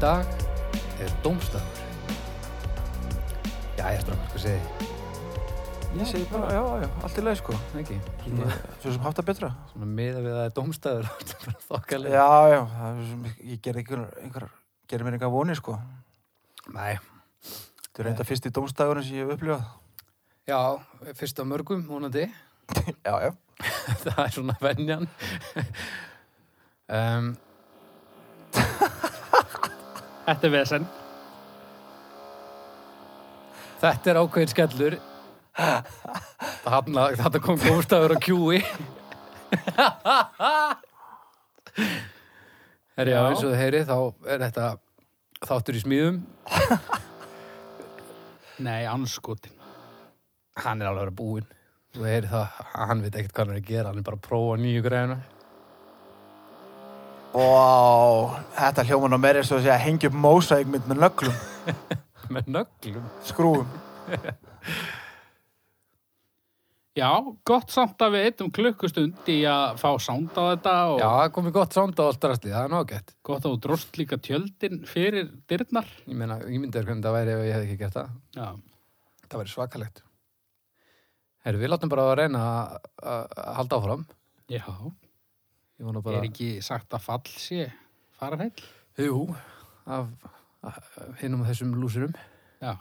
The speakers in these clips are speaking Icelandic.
dag er dómstafur. Jæja, strákar, hvað segið þið? Ég segi bara, já, já, allt í leið sko Ekki, Ég- Svo sem haft það betra svona miða við að það er dómstafur þá er þetta bara þokkalega. Já, já, það er sem, ég gerði einhver, einhver gerði mér einhver vonir sko Nei, Þetta er reynda fyrst í dómstagurinn sem ég hef upplifað já, fyrst af mörgum, vonandi. Já, já það er svona venjan. um, Þetta er vesen. þetta er ákveðin skellur. Þarna, þetta kom dómstafur á kjúi. Herri, já, Já. eins og þið heyri, þá er þetta þáttur í smíðum. Nei, anskotin. hann er alveg að vera búinn þú heyrir það, hann veit ekkert hvað hann er að gera hann er bara að prófa nýju græna Vá, þetta hljóman á mér er svo að segja að hengja upp mósækmynd með nöglum, með nöglum skrúum Já, gott samt að við eittum klukkustund í að fá sound á þetta og já, það komið gott sánd á allt rastli, það er nágætt gott að þú dróst líka tjöldin fyrir dyrnar. ég meina, ég myndi þér hvernig það væri ef ég hef ekki gert það Já, það væri svakalegt herru, við látum bara að reyna að- að að halda áfram já. ég vona Er bara, ekki sagt að fall sé fararheill? jú af, af hinum og þessum lúsurum Já.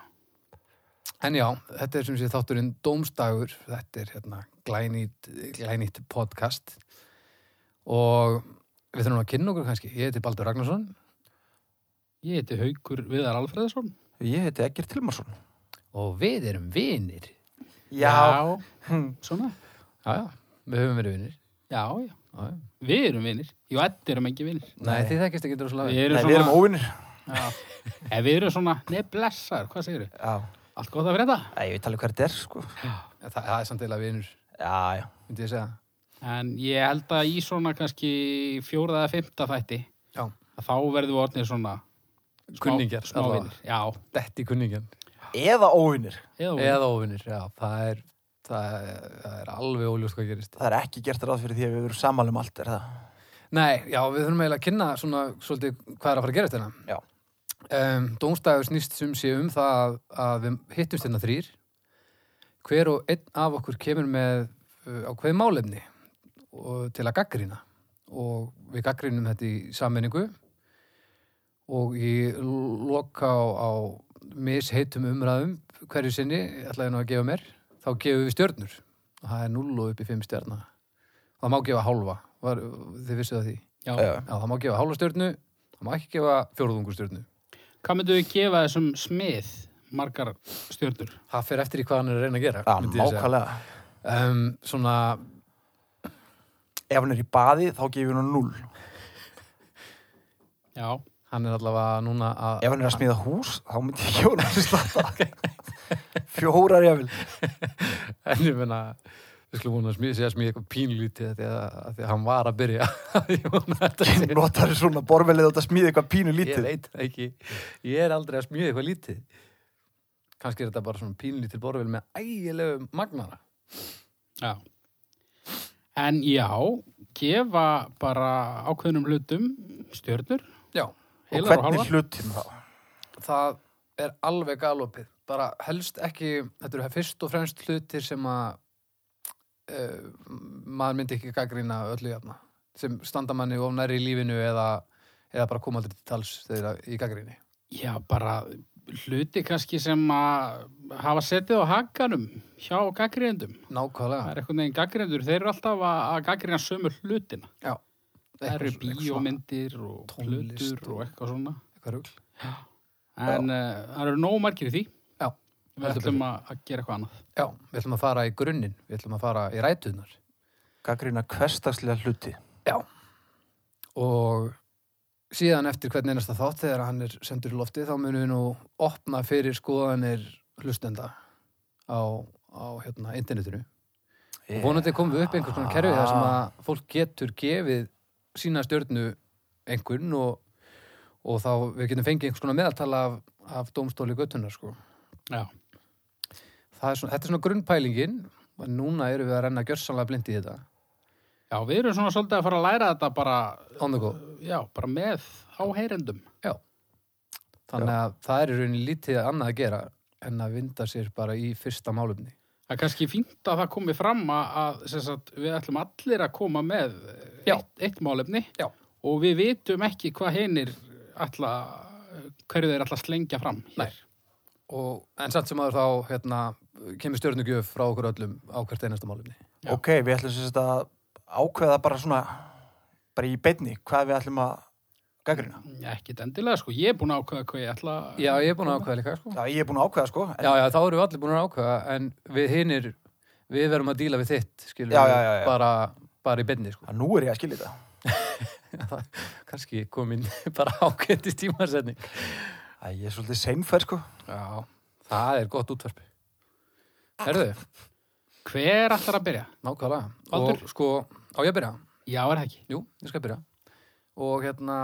en já, þetta er sem sé þátturinn Dómstagur, þetta er hérna glænýtt, glænýtt podcast og við þurfum að kynna okkur kannski, ég heiti Baldur Ragnarsson Ég heiti Haukur Viðar Alfreðsson. Ég heiti Egger Tilmarsson og við erum vinir. Hm. Svona? Já, já, við höfum verið vinir. Já, já. Já, já. Við erum vinir. Jú, þetta erum ekki vinir. Nei, Nei. þið þekkist ekki droslega Við vel. erum Nei, svona... við erum óvinnir Já. En við erum svona, nei, blessar, hvað segir þau? Já, Allt gott að frétta? Nei, ég veit alveg hvað þetta er sko Það, það er samt eila vinur, Já, já myndi ég segja. En ég held að í svona kannski fjórða eða fymta þætti, Já, að þá verðum við orðnir svona... smá- kunningjar. Smá vinir, já. Detti kunningjar. Eða óvinnir Eða, vinir. Eða óvinir, já, það er, það er, það er alveg óljóst hvað gerist. Það er ekki gert ráð fyrir því að við verum sammálum allt, er það? Nei, já, við þurfum eiginlega að kynna svona svolítið hvað er að fara að gerast hérna. Já. Um, Dómstæður snýst sem sé um það að, að við hittumst hérna þrýr. Hver og einn af okkur kemur með uh, ákveð málefni og, til að gaggrýna og við gaggrýnum þetta í sammenningu og í loka á, á misheitum umræðum hverju sinni, ætla ég nú að gefa mér, þá gefum við stjörnur. Það er 0 og upp í 5 stjörna. Það má gefa hálfa, var, þið vissuð að því. Já. Já, Já, það má gefa hálfa stjörnu, það má ekki gefa fjórðungur stjörnu. Hvað myndu við gefa þessum smið margar stjörnur? Það fer eftir í hvað hann er að reyna að gera. já myndi ég segja. nákvæmlega Um, svona, Ef hann er í baði, þá gefum við hann 0 Já, hann er allavega núna að... Ef hann er að smíða hús, þá myndi ég gefa hann slatta Fjórar ég vil En ég meina, við skulum vona að smíða, segja smíða eitthvað pínlítið þegar því að hann var að byrja. ég vona að þetta sé... Notar svona borvelið átt að smíða eitthvað pínu Ég lítið veit það ekki, ég er aldrei að smíða eitthvað lítið. Kannski er þetta bara svona pínlítil borvel með ægilegu magnara. já. En já, gefa bara ákveðnum hlutum stjörnur, Já, Og heilar og, hvernig hálfar. hlutin þá? það er alveg galopið bara helst ekki, þetta eru fyrst og fremst hlutir sem að uh, maður myndi ekki gaggrína öllu jafna, sem standa manni of nærri í lífinu eða, eða bara koma aldrei til tals þegar í gaggríni Já, bara hluti kannski sem að hafa setið á hakanum hjá gaggríðendum. Það Nákvæmlega, er eitthvað neginn gaggríðendur, þeir eru alltaf að, að gaggríðan sömu hlutina. já Það eru Eitthvað- eitthvað svona- bíómyndir og tónlist hlutur og eitthvað svona. eitthvað rugl. En uh, það eru nóg margir í því. Já, Við heldur ætlum að, að gera eitthvað annað. Já, við ætlum að fara í grunninn við ætlum að fara í rætunar Gaggrina hverstagslega hluti og síðan eftir hvern einasta þátt þegar hann er sendur í lofti þá munum við nú opna fyrir skoðanir hlustenda á, á hérna, internetinu Eh. og vonandi komum við upp einhvers konar kerfi þar sem að fólk getur gefið sína stjörnu einhvern og, og þá við getum fengið einhvers konar meðaltal af, af dómstóli göttunar sko. Já. Það er svona, þetta er svona grunnpælingin en núna erum við að renna gjörsanlega blindi í þetta Já, við erum svona svolítið að fara að læra þetta bara, on the go já, bara með áheyrendum. Já. Þannig að það er í rauninni lítið annað að gera en að vinda sér bara í fyrsta málumni. Það er kannski fínt að það komi fram að, að sem sagt, við ætlum allir að koma með eh, Já. eitt, eitt málefni Já. og við vitum ekki hvað hinnir ætla, hverju þeir ætla að slengja fram hér. Nei. Og, en samt sem aður þá hérna, kemur stjörnugjöf frá okkur öllum á hvert einasta málumni. Já. Ok, við ætlum sérst að ákveða bara svona, bara í beinni, hvað við ætlum að gaggrina. Ekki endilega, sko. Ég er búin að ákveða hvað ég ætla að... Já, ég er búin að ákveða líka, sko. Já, ég er búin að ákveða, sko. en- Já, já, þá erum við allir búin að ákveða, en við hinir, við verum að díla við þitt, skilur Já, við, já, já, já. Bara, bara í beinni, sko. Já, nú er ég að skilja þetta. Kanski komin bara ákveðtis tímasetning. Æ, ég er svolítið seinferð, sko. Já, það er gott útvarp. Ah. Herðu, Hver ætlar að byrja? nákvæmlega. Baldur? Og sko, á ég að byrja? Já, er það ekki. Jú, ég skal byrja. Og hérna,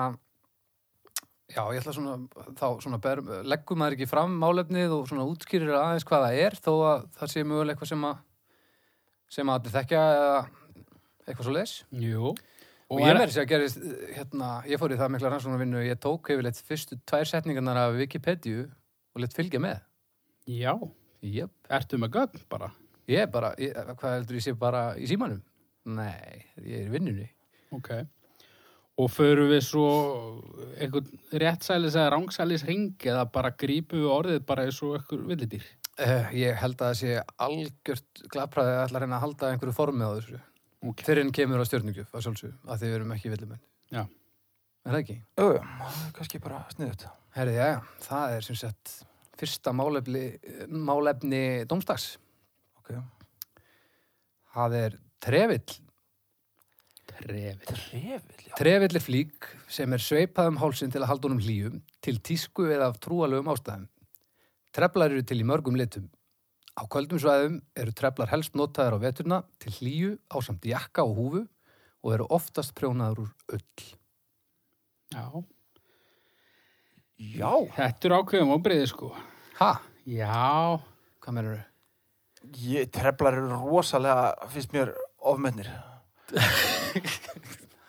já, ég ætla svona, þá svona, ber, leggum maður ekki fram málefnið og svona útskýrir aðeins hvað það er, þó að það sé mögulega eitthvað sem að, sem að allir þekkja eða eitthvað svo leis. Jú. Og ég verði sér að gerist, eh, hérna, ég fór í það mikla rannsóknarvinnu, ég tók yfirleitt fyrstu tvær setningarnar af Wikipedia og lett fylgja með. Já, Jöp. ertu með gögn bara. Ég er bara, ég, hvað heldur ég sé bara í símanum? Nei, ég er í vinnunni. Ok. Og förum við svo einhvern réttsælis eða rángsælis ring eða bara grípum við orðið bara eins og einhver villidýr. Uh, ég held að það sé algjört glapræði að ætla að reyna að halda einhverju formið á þessu. Ok. Þegar henn kemur á stjörningjöf, að sjálfsögum, að þið verum ekki villumenn. Já. Er það ekki? Jú, jú, kannski bara sniðut. Herði, já, já, það er sem sagt fyrsta málefni, málefni dómstags. Ok. Það er trefill. Trefið. Trefil, já. Trefill er flík sem er sveipað um hálsin til að halda honum hlýjum, til tísku eða af trúalögum ástæðum. Treflar eru til í mörgum litum. Á kvöldum svæðum eru treflar helst notaðar á veturna til hlýju ásamt jakka og húfu og eru oftast prjónaður úr ull. Já. Já, Þetta er ákveðum ábreiði sko. Ha? Já. Hvað mennur þau? ég, treflar eru rosalega, finnst mér, ofmennir.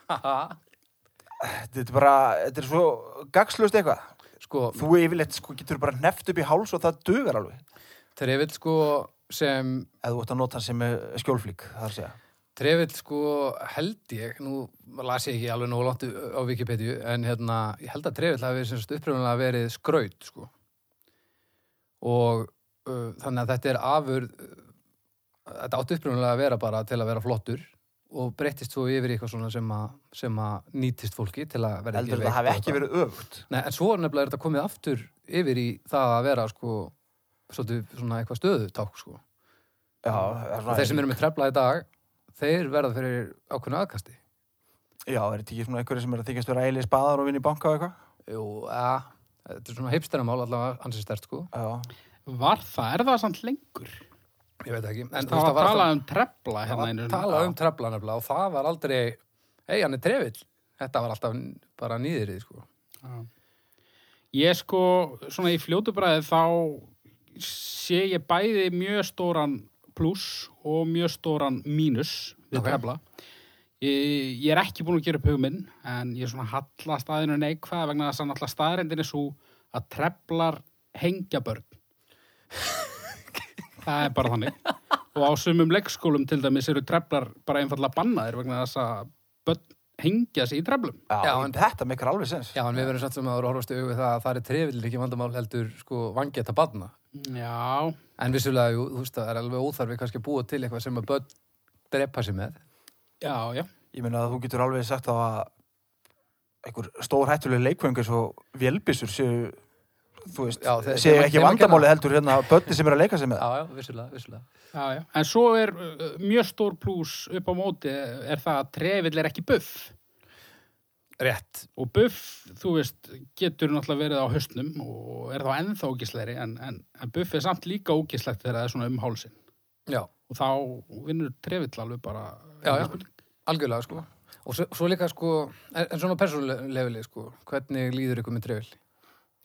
Ha? Þetta er bara, þetta er svo gagslust eitthvað. Sko, Þú yfirleitt, sko, getur bara neft upp í háls og það dugar alveg. trefill sko sem Ef þú ætti að nota hann sem eh, skjólflík, það er að segja. Trefill sko held ég, nú las ég ekki alveg nógu langt á Wikipedia, en hérna, ég held að trefill hafi semst uppröfunulega verið skraut, sko. Og uh, þannig að þetta er afur, þetta átti uppröfunulega að vera bara til að vera flottur og breyttist svo yfir í eitthvað svona sem að, sem að nýtist fólki til að vera Heldur veikt þetta hafi og ekki eitthvað. verið öfugt. Nei, en svo nefnilega er þetta komið aftur yfir í það að vera, sko, svolítið svona eitthvað stöðuták, sko. Já, það er Og þeir sem eru með trefla í dag, þeir verða fyrir ákveðnu aðkasti. Já, er þetta ekki svona einhverju sem er að þykjast vera eilig spaðar og vinna í banka og eitthvað? Jú, ja, þetta er svona hipsteramál allavega ansið stert sko, Já, Var það? Er það samt lengur? ég veit ekki. En það var að tala alltaf- um trefla það hérna var einu. talað um trefla nefnilega og það var aldrei, hei hann er trefill, þetta var alltaf n- bara nýðrið sko. Já. Ég sko, svona í fljótu bræði þá sé ég bæði mjög stóran pluss og mjög stóran mínus við Ok. okay. tefla. Ég, ég er ekki búin að gera upp hugminn en ég er svona halla staðinu neikvæð vegna þess að náttúrulega staðrendin er svo að treflar hengja börn. Það er bara þannig. Og á sumum leikskólum til dæmis eru treflar bara einfallega bannaðir vegna þess að börn hengja sig í treflum. já Já, en- þetta meikar alveg sens. Já, en við verðum samt sem að horfast í augu við það að það er trefill ekki vandamál heldur sko vangjæta barna. Já, En vissulega, jú, þú veist, það er alveg óþarfi kannski að búa til eitthvað sem að börn drepa sér með. já, já. Ég meina að þú getur alveg sagt þá að einhver stór hættuleg leikvöngu svo vélbissur séu, þú veist, Já, þeir- séu þeim- þeim að ekki kenna. vandamáli heldur hérna börni sem eru að leika sér með. það. Já, já, vissulega, vissulega. Já, já. En svo er uh, mjög stór plús upp á móti er það að trefill er ekki buff. Rétt. Og buff, þú veist, getur náttúrulega verið á höstnum og er þá ennþá ógisleiri en, en, en buff er samt líka ógislegt þegar það er svona um hálsin. Já. Og þá vinnur trefill alveg bara... Já, engin já. spurning. Algjörlega, sko. Og svo, svo líka, sko, en, en svona persónulefili, sko, hvernig líður ykkur með trefil?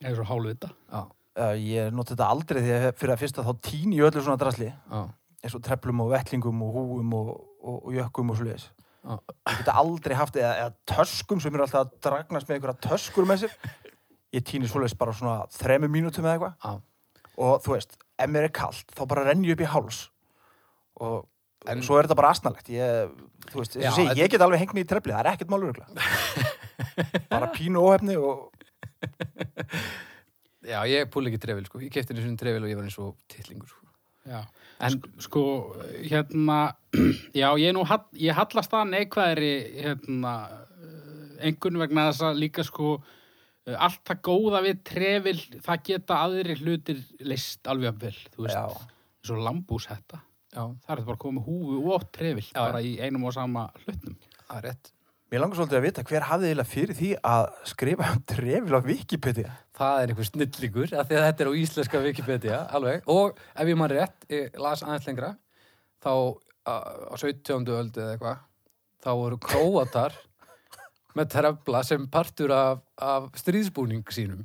Eða svo hálfvita. Já, Já, ég noti þetta aldrei því að fyrir að fyrsta þá tíni öllu svona drasli, já, eins og treflum og vettlingum og húum og, og, og jökkum og svoleiðis. já. Ég geta aldrei haft, eða, eða töskum sem eru alltaf að dragnast með einhverja töskur með sér. ég týni svoleiðis bara svona þremur mínútum eða eitthvað Já. og þú veist, ef mér er kalt þá bara renn ég upp í háls og En- svo er þetta bara asnalegt ég, þú veist, Já, já, sé, þetta- ég get alveg hengt mig í trefli það er ekkert málur bara pínu óhefni og Já, ég púli ekki trefil, sko. Ég kefti henni svona trefil og ég var eins og titlingur, sko. Já. En, Sko, hérna, já, ég, er nú, hall- ég hallast að neikvæðri, hérna, engun vegna þess að líka, sko, eh, allt það góða við trefil, það geta aðrir hlutir list alveg að vel, þú veist, já, svo lambúshetta. já, Það er þetta bara að koma með húfu og trefil, Já, bara í einum og sama hlutnum. það er rétt. mér langar svolítið að vita hver hafði eiginlega fyrir því að skrifa um trefil á Wikipedia Það er einhver snillingur, af því að þetta er á íslenska Wikipedia, alveg. Og ef ég maður rétt, ég las aðeins lengra, þá á á 17. öldu eða eitthvað, þá voru króatar með trefla sem partur af, af stríðsbúning sínum,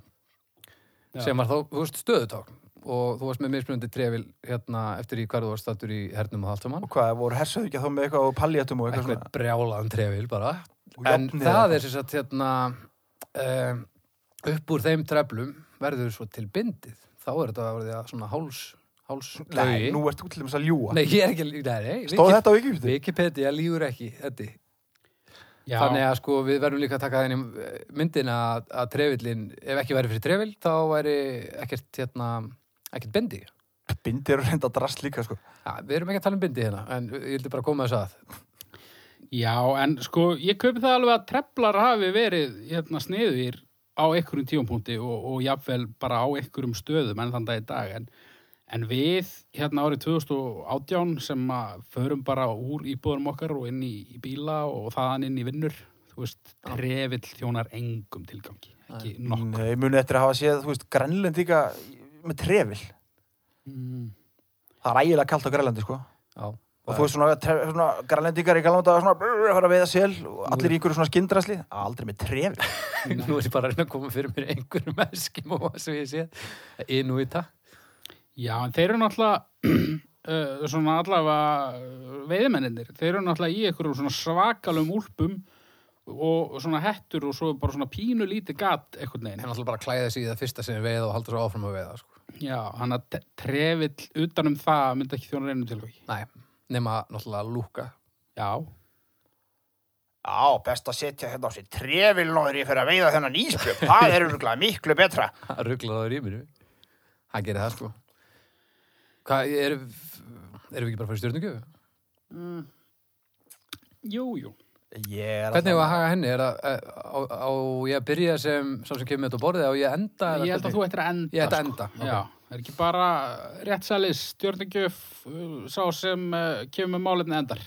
Já. sem var þá, þú veist, stöðutákn. Og þú varst með mismunandi trefil hérna eftir í hverðu var stattur í hernum og haldamann. og hvað, voru hersöðu þá með eitthvað og paljatum og eitthvað eitthvað svona brjálaðan trefil bara Og en járnið það eða er sem sagt hérna um, upp úr þeim treflum verður svo til bindið þá er þetta að verða svona háls háls Nei, nú ert þú til dæmis að ljúa nei, ég er ekki nei, nei, Stóð Wiki- þetta á Wikipedia? Wikipedia lígur ekki þetta Já, þannig að sko við verðum líka að taka þenni myndin að, að trefillin ef ekki væri fyrir trefil þá væri ekkert hérna ekkert bindi Bindi eru reynda drast líka sko. ja, við erum ekki að tala um bindi hérna en ég vildi bara koma þess að já, en sko, ég kaupi það alveg að treflar hafi verið, hérna, sniðir á einhverjum tíumpunkti og, og jafnvel bara á einhverjum stöðum en þann dag í dag, en En við, hérna árið 2018, sem að förum bara úr íbúðurum okkar og inn í, í bíla og þaðan inn í vinnur, þú veist, trefill þjónar engum tilgangi, ekki nokk. Nei, muni eftir að hafa séð, þú veist, Grenlendinga með trefil Mm. Það er ægilega kalt á Grenlendi, sko já, Og þú veist svona, tref, svona Grenlendingar í galanda og svona, brr, að fara að veiða sel og allir í einhverju svona skindrasli Aldrei með trefil Nú er ég bara að reyna að koma fyrir mér einhverjum eskim og svo ég sé Inuita Já, en þeir eru náttúrulega, uh, svona allavega veiðmenninir, þeir eru náttúrulega í einhverjum svona svakalum úlpum og svona hettur og svo bara svona pínu lítið gat en einhvern veginn. hann alltaf bara klæða sig í það fyrsta sem er veið og haldur svo áfram að veiða sko. Já, hann að te- trefill utanum um það myndi ekki þjónar einum tilgangi. Nei, nema náttúrulega lúka Já, Á, best að setja þetta á sér trefil nóður ég fyrir að veiða þennan íspjöf Það er örgulega miklu betra hann rugglaði á rýminu hann gerir það sko hvað, erum erum við ekki bara fyrir stjórnugjöf? jú, jú. Ég er Hvernig alltaf- var að haga henni? Er að, að, á, á ég að byrja sem sá sem kemur með þetta á borðið á ég að enda? eða Ég held að þú hvernig? ættir að enda. Ég ætti að enda, Sko. Já, er ekki bara réttsælis, stjórningjöf, sá sem uh, kemur með málefni endar.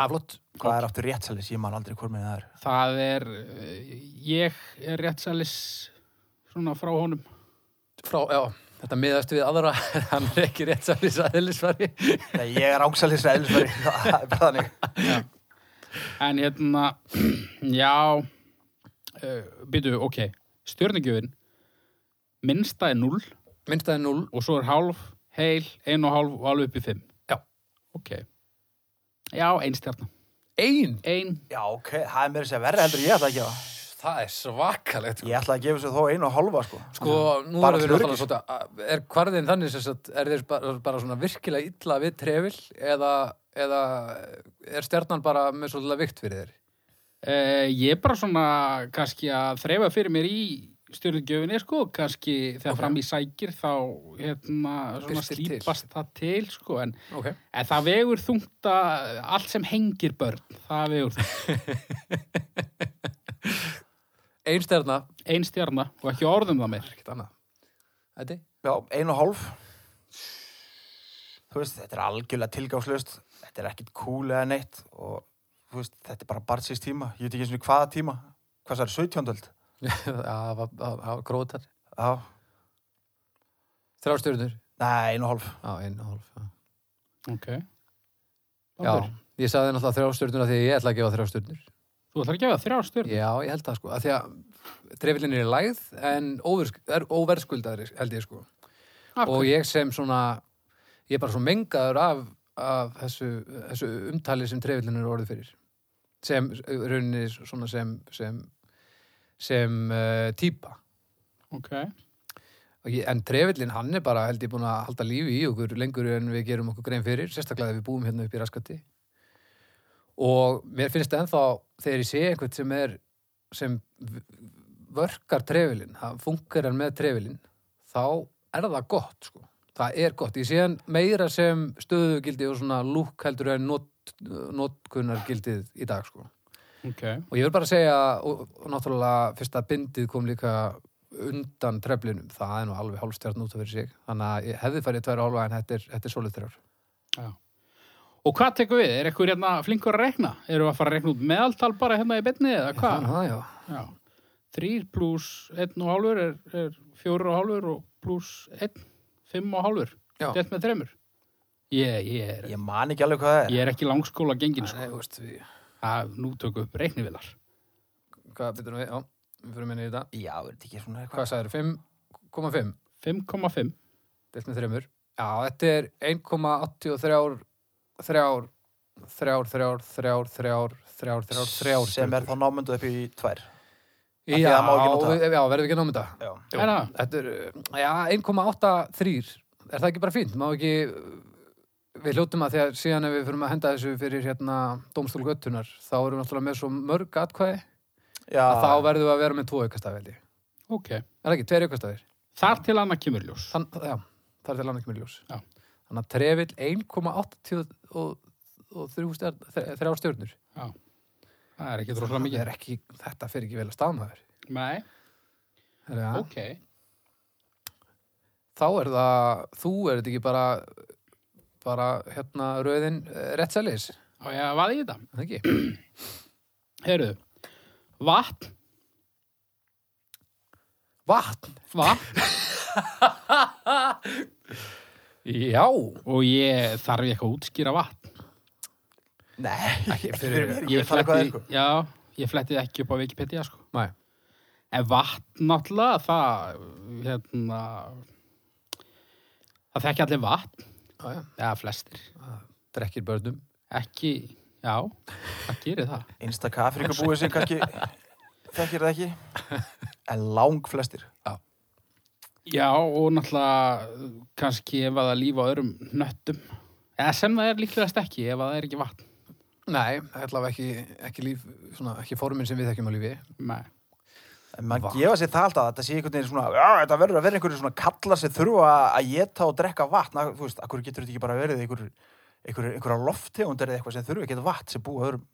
Ah, flott. Hvað er aftur réttsalis? Ég man aldrei hvort með það er Það er, uh, ég er réttsælis svona frá honum. Frá, já, þetta miðast við aðra hann er ekki rétt sælis aðeinsfari Nei, Ég er ángsalis eðlisveri Það er bara þannig En hérna, já, uh, byrju, ok, stjórningjöfin, minnsta er 0 minnstaði 0 og svo er hálf, heil, ein og hálf og alveg upp í 5. Já. Ok. Já, ein stjarnar. ein Ein, Já, ok, það er mér að segja verri heldur en ég ætla að gefa Það er svakalegt Ég ætla að gefa sér þó einu og hálfa sko Sko, nú Bara erum við til náttúrulega svona að- Er kvarðin þannig sem sagt Er þeir bara, bara svona virkilega illa við trefil Eða, eða er stjarnan bara með svolítið vikt fyrir þeir Uh, ég er bara svona kannski að þreifa fyrir mér í stjórnugjöfinni sko, kannski þegar Ok. fram í sækir þá hérna, svona Birtir til. slípast það til sko, en, Ok en það vegur þungt að allt sem hengir börn, það vegur þungt Ein stjarna, ein stjarna og ekki orðum það mér ekkert annað Þetta Já, einu og hálf Þú veist, þetta er algjörlega tilgáðslaust Þetta er ekkit cool eða neitt og þú veist, þetta er bara barnsins tíma Ég veit ekki eins og hvaða tíma Hvað það er, 17. öld? Það var- það var krótar Já, Þrjá stjörnur nei, einu og hálf Já, ein og hálf já. ok Já, Baldur, ég sagði náttúrulega þrjá stjörnur af Því að ég ætla að gefa þrjá stjörnur þú ætlar að gefa þrjá stjörn Já, ég held það sko, af því að dreifilin er í lægð en óversk- er óverðskuldaðri held ég sko og ég sem svona ég er bara svo mengaður af, af þessu, þessu umtali sem dreifilin er orðið fyrir sem rauninni svona sem sem, sem uh, eh, típa ok. Og ég- En trefillin hann er bara held ég búin að halda lífi í okkur lengur en við gerum okkur grein fyrir, sérstaklega ef við búum hérna upp í raskati. Og mér finnst ennþá þegar ég sé einhvern sem er, sem v- vörkar trefillin, það fungerar með trefillin, þá er það gott sko. Það er gott. Ég sé hann meira sem stöðugildi og svona lúk heldur en not, notkunargildið í dag sko. Ok, Og ég vil bara segja, og, og náttúrulega fyrsta bindið kom líka undan treflinum, það er nú alveg hálfstjarn út af fyrir sig, þannig að ég hefði farið tværa hálfa en þetta er, þetta er svolítið þrjár. já. Og hvað tekur við? Er eitthvað hérna flinkur að rekna? Erum við að fara að rekna út meðaltal bara hérna í betni eða hvað? Þannig að já, Já. Þrýr pluss einn og hálfur er, er fjóru og hálfur og pluss einn, fimm og hálfur. Já. Dett með þremur. Ég, ég, er, Ég man ekki alveg hvað það er. ég er ekki langskóla gengin, Nei, sko. þú veist, við, Að nú tökum upp reiknivilar. hvað byrjum við, já, við fyrir minni í þetta. Já, er þetta ekki svona Hvað eitthvað? sagður, 5,5, 5,5. delt með þremur. Já, þetta er 1,83, þrjár, þrjár, þrjár, þrjár, þrjár, þrjár, þrjár, þrjár. Sem er þá námyndu upp í tvær. Já, því það má ekki nota við- já, verðum við ekki að námið það. Já. Jú, Er það? Þetta er, uh, já, 1,83 Er það ekki bara fínt? Má ekki uh, Við hljótum að þegar síðan ef við fyrir að henda þessu fyrir hérna dómstól göttunar þá erum við náttúrulega með svo mörg atkvæði Já, að þá verðum við að vera með tvo aukastafeldi Er Ok. það ekki, tveir aukastafir? Þar til annað kemur ljós. Þann, já, það er til annað ekki mjög ljós Já. Þannig að trefill 1,83 og, og þrjú stjörn, þrjá stjörnur Það er ekki droslega mikið. Það er ekki, Þetta fer ekki vel að staðmaður Nei, ja. ok. Þá er það, þú er þetta ekki bara bara hérna rauðin eh, réttselis, Á ég að vaða í þetta. er það ekki? Heyrðu, vatn, Vatn? vatn Já. og ég þarf ég eitthvað að útskýra vatn. Nei, Ekki fyrir fyrir... mér. Ég Ég þarf eitthvað fletti, eitthvað. já, ég fletti ekki upp á Wikipedia, sko. Næ. En vatn náttúrulega, það, hérna, það þekki allir vatn, Já, já. eða flestir. Drekkir börnum. Ekki, já, það gerir það. Einstaka Afrikabúið sem kannski þekkir það ekki. En lang flestir. Já, og náttúrulega kannski ef að það lífa á öðrum nöttum. Eða sem það er líklegast ekki, ef að það er ekki vatn. Nei, allavega ekki, ekki líf, svona, ekki formin sem við þekkjum á lífi. Nei. En maður Vatn. gefa sér það alltaf að þetta sé einhvern veginn svona, já, þetta verður að vera einhverju svona kallar sem þurfa að geta og drekka vatn. Að, þú veist, akkur getur þetta ekki bara verið einhverju, einhverju, einhverju lofttegundir eða eitthvað sem þurfa að geta vatn sem búa öðrum.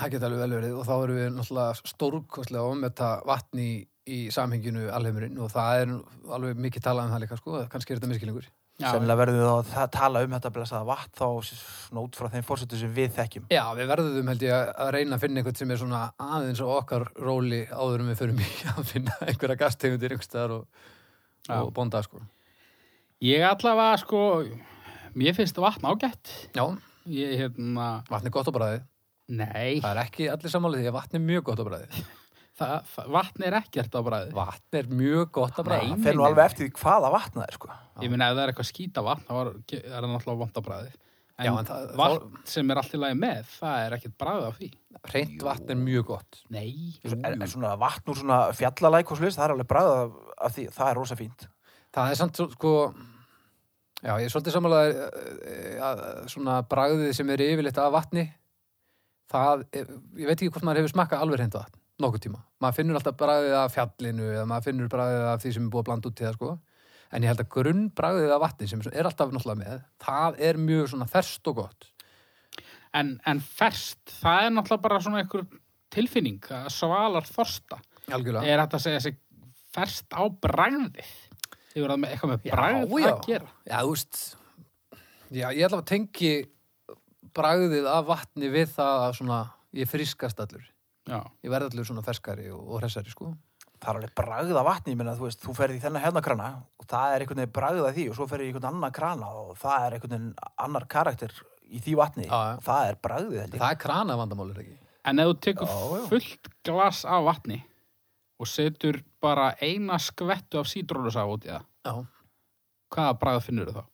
Það geta alveg vel verið og þá erum við náttúrulega stórkostlega að ometta vatn í, í samhenginu alheimurinn og það er nú alveg mikið talað um það líka, sko. Kannski er þetta miskilingur. Já, Sennilega verður við þá að tala um þetta blessaða vatn þá svona út frá þeim fórsetu sem við þekkjum. Já, við verðum held ég að- að reyna að finna einhvern sem er svona aðeins og okkar róli áður en við förum í að finna einhverja gastegundir einhverstaðar og, Já. og bonda, sko. Ég allavega, sko, mér finnst vatn ágætt. Já, Ég, hérna, vatn er gott á bræði. nei, Það er ekki allir sammálið því að vatn er mjög gott á bræði. það, það, vatn er ekkert á bræði. Vatn er mjög gott á bræði. Það fer nú alveg eftir því hvaða vatn það er, sko. Ég meina, ef það er eitthvað skýta vatn, þá er það náttúrulega vant á bræði. En, Já, en það- vatn sem er allt í lagi með, það er ekkert bræði á því. Reynt vatn er mjög gott. Nei, jú, Er, er jú. svona vatn úr svona fjallalæk og sluðis, það er alveg bræða af því, það er rosa fínt. Það er samt svo- sko... Já, ég er svolítið sammálið að svona bragðið sem er yfirleitt af vatni, það, er- ég veit ekki hvort maður hefur smakkað alveg reynt vatn, nokkuð tíma. Maður finnur alltaf bragðið af fjallinu eða maður finnur bragðið af því sem er búið að blanda út í það, sko. En ég held að grunnbragðið af vatni sem er alltaf náttúrulega með, það er mjög svona ferst og gott. En, en ferst, það er náttúrulega bara svona einhver tilfinning, það svalar þorsta. Algjörlega. Er þetta að segja sig ferst á bræðið? Þið verða með eitthvað með Já, bræðið já. að gera. Já, þú veist Já, ég ætla að tengi bragðið af vatni við það að svona, ég friskast allur Já, ég verð allur svona ferskari og, og hressari sko. Það er alveg bræða vatni, ég meina, þú veist, þú ferði í þennan hérna krana og það er einhvern veginn bræða því og svo ferði í einhvern annan krana og það er einhvern veginn annar karakter í því vatni Já, já. og það er bræðið, held ég. Það er krana vandamál er það ekki en ef þú tekur Já, já. fullt glas af vatni og setur bara eina skvettu af sítrónusaf út í það, Já, hvaða bræð finnur þú þá?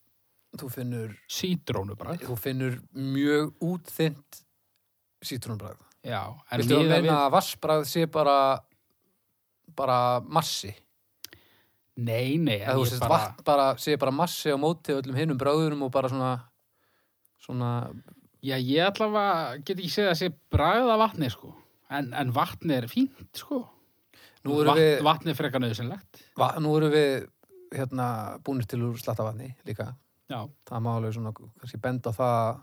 þú finnur Sítrónubræð? þú finnur mjög útþynt sítrónbragð Já, en Vistu að miðað meina að vassbragð sé bara bara massi Nei, nei, en eða þú ég sést bara... vatn bara, sé bara massi á móti öllum hinnum bráðurum og bara svona svona, Já, ég allavega get ekki segið að sé bragða vatni, sko. En, en vatni er fínt, sko. nú erum við Vatni er frekar nöðsynlegt. va, nú erum við hérna búnir til úr slattavatni líka Já, það má alveg svona kannski benda á það að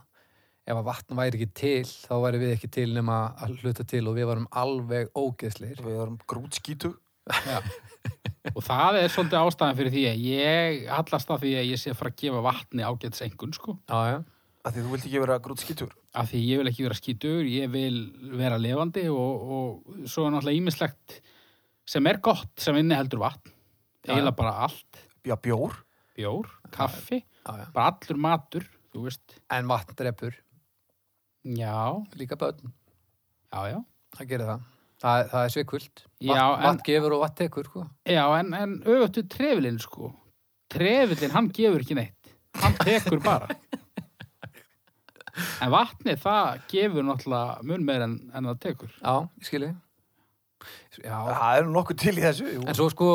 ef að vatn væri ekki til þá væri við ekki til nema að hluta til og við varum alveg ógeðsleir Við erum grútskítu. já. og það er svolítið ástæðan fyrir því að ég hallast að því að ég sé að fara að gefa vatni ágætis engun, sko. já, já. Af því þú vilt ekki vera grútskítur. Af því ég vil ekki vera skítur, ég vil vera levandi og, og svo er náttúrulega ímislegt sem er gott sem inniheldur vatn. Já, Eiginlega bara allt. Já, bjór. Bjór, kaffi, Já, já. bara allur matur, þú veist. en vatn drefur Já, líka börn já, já. það gerir það, það, það er svikvöld vatn, Já, en- vatn gefur og vatn tekur sko. Já, en, en öfugt við trefilinn sko. Trefilinn, hann gefur ekki neitt. Hann tekur bara. En vatnið, það gefur náttúrulega mun meir en, en það tekur. já, ég skilji já, Það er nú nokkuð til í þessu. Jú. En svo sko,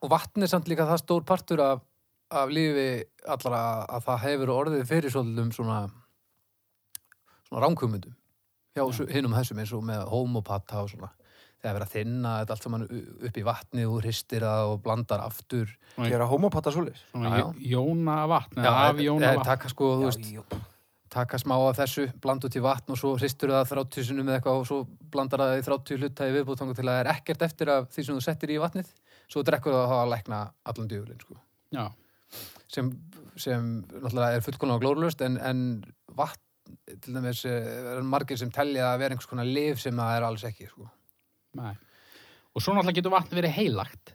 og vatn er samt líka það stór partur af, af lífi allra að það hefur orðið fyrir svolítum svona, svona ránkumundum. Já, ja. hinnum þessum eins og með homopata og svona. Þegar verið að þinna þetta allt saman u- upp í vatni og hristir það og blandar aftur. Gera homopata svoleiðis. Svona Já, já. já, jóna vatn, eða af jóna eh, vatn. Taka sko, þú Já, veist, jú. taka smá af þessu, blanda út í vatn og svo hristur það þráttísunum eða eitthvað og svo blandar það í þráttíu hluta í viðbútangu til að það er ekkert eftir af því sem þú settir í vatnið. Svo drekkur það og það að lækna allan djúlinn, sko. Já, sem, sem náttúrulega er fullkomlega glórlust en, en vatn til dæmis eh, er margir sem telja að vera einhvers konar lif sem það er alls ekki sko. nei. Og svo náttúrulega getur vatn verið heilagt.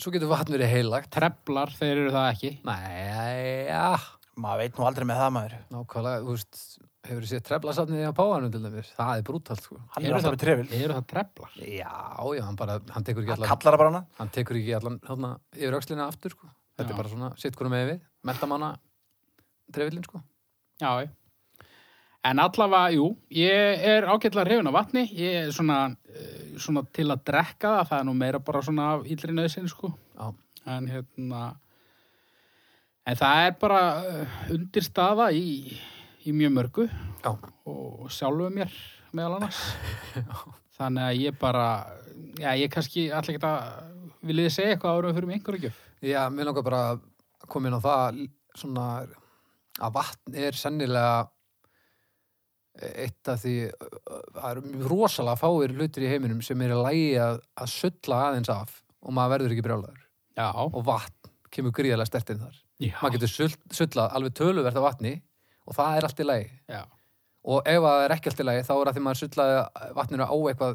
svo getur vatn verið heilagt Treflar, þeir eru það ekki. Nei, ja, Maður veit nú aldrei með það maður. nákvæmlega þú veist, hefur séð treflasafnið á páanum til dæmis það er brútalt sko Hann Eru er alltaf það- með trefil. Eru það treflar? Já, já, hann bara, hann tekur ekki Hann allan kallar það bara hana. hann tekur ekki allan, hérna, yfir öxlina aftur sko, þetta Já. er bara svona, sitt hvernig með við mentamanna trefillin sko Já, já. En allavega, jú, ég er ágætlega hrifin af vatni. Ég er svona, eh, svona til að drekka það, það er nú meira bara svona af illri nöðsinn, sko. Já, en hérna en það er bara undir staða í, í mjög mörgu já, og sjálfu mér meðal annars þannig að ég bara já, ég kannski allir geta viljið þið segja eitthvað árum fyrir mig einhverju gjöf Já, mér langar bara að koma inn á það svona að vatn er sennilega eitt af því það eru rosalega fáir hlutir í heiminum sem er að lægi að, að sulla aðeins af og maður verður ekki brjálaður já, og vatn kemur gríðarlega stertinn þar já, maður getur sull- sullað alveg töluvert af vatni og það er allt í lægi já, og ef að það er ekki allt í lægi þá er að því maður sullaði vatninu á eitthvað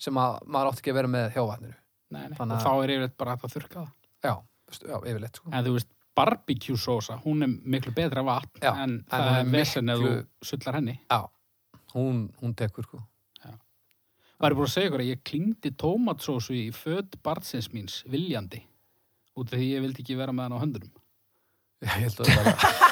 sem að, maður átti ekki að vera með hjá vatninu nei, nei. Þannig og að- þá er yfirleitt bara hægt að þurrka það já, veist- já yfirleitt sko. en þú veist, barbecue sósa hún er miklu betra vatn Já, en en það hún er er vesen ef þú miklu- sullar henni já, hún, hún tekur sko. var ég búin að segja ykkur að ég klingdi tómatsósu í föt barnsins míns viljandi út af því ég vildi ekki vera með hann á höndunum Já, ég held að það bara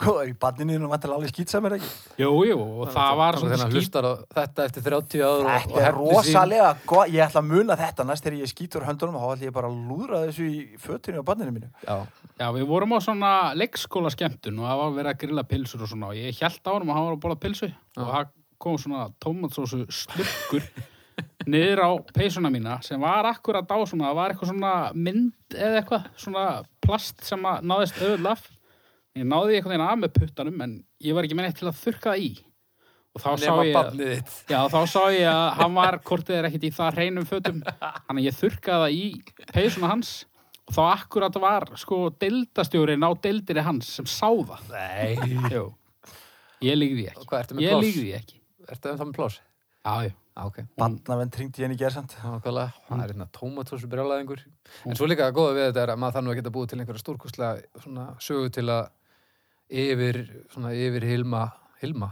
Hvað er í banninu þínu? Vantilega alveg skýtsamir ekki. Jú, jú, og það var Þannig að svona hann skýt hlustar á þetta eftir 30 ára og, og Þetta er hefnir sín. rosalega gott, ég ætla að muna þetta næst þegar ég skýtur höndunum þá ætla ég bara að lúðra þessu í fötinu á banninu mínu. Já, Já, við vorum á svona leikskóla skemmtun og það var verið að grilla pilsur og svona og ég held á hann og hann var að bóla pilsu og það kom svona tómatsósu slurkur niður á peysuna mína sem var akkurat á svona, það var eitthvað svona mynd eða eitthvað, svona plast sem að náðist öðull af ég náði einhvern veginn af með puttanum en ég var ekki með neitt til að þurrka það í og þá sá nema ég að barnið þitt Já, þá sá ég að hann var kortið er ekkit í það hreinum fötum þannig að ég þurrkaði það í peysuna hans og þá akkurat var sko deildastjórinn á deildinni hans sem sá það Nei Jú. Ég líkði því Og ekki Hvað ertu með Ég pláss? líkði því ekki Ertu með það með pláss? Já, já, Já, ok Bannavenn tringdi henni gerðsamt. Nákvæmlega, það er hérna tómatósu brjálæðingur En svo líka að góða við þetta er að maður þarf nú að geta búið til einhverja stórkostlega svona sögu til að yfir, svona yfir hilma hilma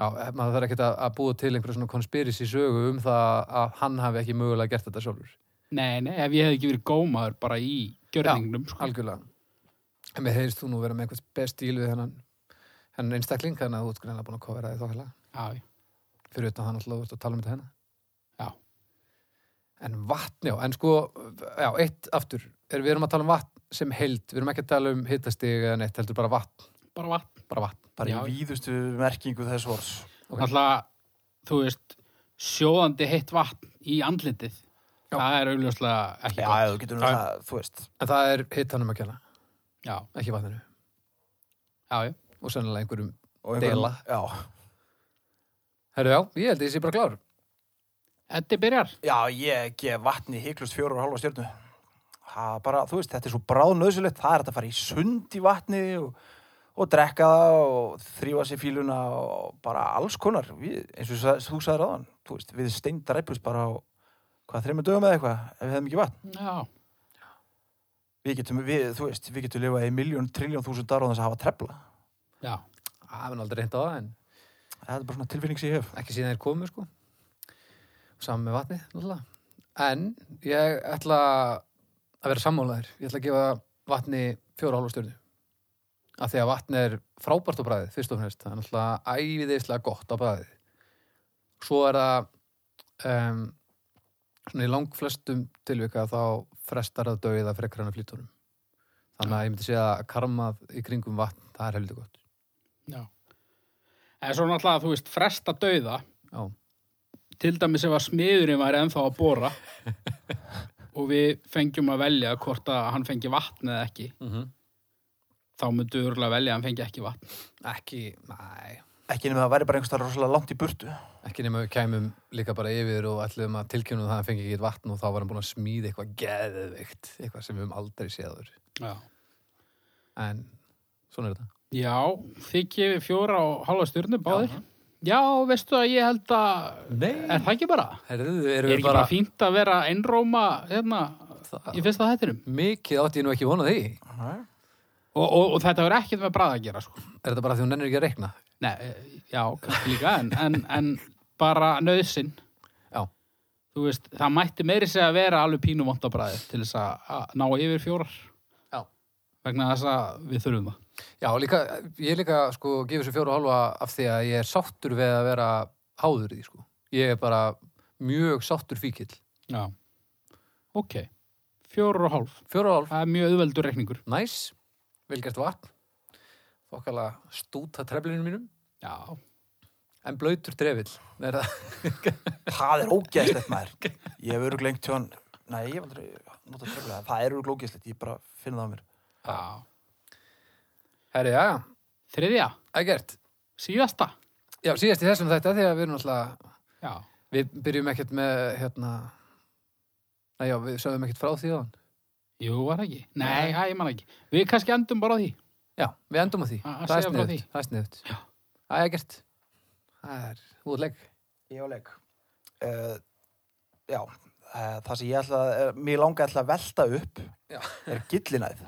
Já, eh, maður þarf ekkert að, að búa til einhverja svona konspirisi sögu um það að hann hafi ekki mögulega gert þetta sjálfur nei, nei, ef ég hef ekki verið gómaður bara í gjörningnum sko. algjörlega en mér heyrst þú nú vera með einhvern best stíl við hennan hennan einstakling þannig að þú ert greinlega búin að kofera því þokkalega Já, já, fyrir utan hann alltaf að tala um þetta hennar Já. hérna. En vatn, já, en sko, já, eitt aftur, er, við erum að tala um vatn sem held, við erum ekki að tala um hittastig eða neitt, heldur bara vatn, bara vatn. bara vatn. bara Já. í víðustu merkingu þess orðs Ok. Alltaf, þú veist, sjóðandi heitt vatn í andlitið. Já. Það er augljóslega ekki já, gott. þú getur Já. um það, þú veist En það er hittanum að kenna, Já, ekki vatninu. já, já. Og sennilega einhverjum, og einhverjum- já. herru, já, ég held að ég sé bara klár. Eddi byrjar. já, ég gef vatni heiklust fjóru og halva stjörnu það er bara, þú veist, þetta er svo bráðnöðsulegt það er hægt að fara í sund í vatni og, og drekka það og þrýfa sér fíluna og bara alls konar við, eins og sa- þú sagðir aðan þú veist, við steindræpust bara á hvað þreymur dögum eða eitthvað ef við hefum ekki vatn Já, við getum, við, þú veist, við getum lifað í miljón, triljón, þúsund ára á þess að hafa trefla já. Það hefur aldrei reynt á það, en það er bara svona tilfinning sem ég hef ekki síðan þeir komu sko saman með vatni náttúrulega en ég ætla að vera sammálaðir ég ætla að gefa vatni fjóra hálfa stjörnu af því að vatni er frábært á bræðið fyrst og fremst, það er náttúrulega æviðislega gott á bræðið svo er það um, svona í langflestum tilvika þá frestar að dauða frekar hann að flýtunum þannig að ég myndi segja að karmað í kringum vatn, það er heldur gott Já. En svo náttúrulega, þú veist, fresta dauða, já, til dæmis ef að smiðurinn væri ennþá að bóra og við fengjum að velja hvort að hann fengi vatn eða ekki, þá myndu örgulega velja að hann fengi ekki vatn. ekki, næ ekki nema það væri bara einhverstað rosalega langt í burtu Ekki nema við kæmum líka bara yfir og ætlum að tilkynna um það að hann fengi ekki vatn og þá var hann búin að smíða eitthvað geðveikt, eitthvað sem við höfum aldrei séður. Já. En svona er þetta. Já, þið gefið fjóra og halva stjörnu báðir. Já. Já, veistu að ég held að, Nei. er það ekki bara? Herðu, erum Er við ekki bara, bara fínt að vera einróma hérna, í það, fyrsta þættinum? mikið átti ég nú ekki vona því. Og, og, og þetta verður ekkert með bræða að gera, sko. Er þetta bara því hún nennir ekki að reikna? Nei, eh, já, kannski líka, en, en, en bara nöðsinn. Já. Þú veist, það mætti meiri sig að vera alveg pínu vondabræði til þess að að ná yfir fjórar. Já. Vegna þess að við þurfum það. Já, líka, ég er líka sko gefið þessu fjóra og hálfa af því að ég er sáttur við að vera háður í því sko. Ég er bara mjög sáttur fíkil. Já. Ok, fjórar og hálf. Fjóra og hálf, Það er mjög auðveldur reikningur. næs, velgert vatn, okkala stúta treflinu mínum. Já. En blöytur drefill, er það? það er ógeðslegt maður ég hef öruglega lengt hjá hann nei, ég hef aldrei notað trefla það er öruglega ógeðslegt, ég bara finn það á mér Já. Herri, já, já, Þriðja, ekkert. síðasta. Já, síðast í þessum þetta, því að við erum alltaf, Já. við byrjum ekkert með, hérna, nei já, við sögum ekkert frá því á hann. Jú, var það ekki. Nei, það ég man ekki. Við kannski endum bara á því. Já, við endum á því. Að- að það er segja frá sniðugt, því. það er sniðut. Já. Það er ekkert. Það er útleg. ég á leik uh, já, uh, það sem ég ætla uh, mér langa ætla að velta upp Já. er gillinæð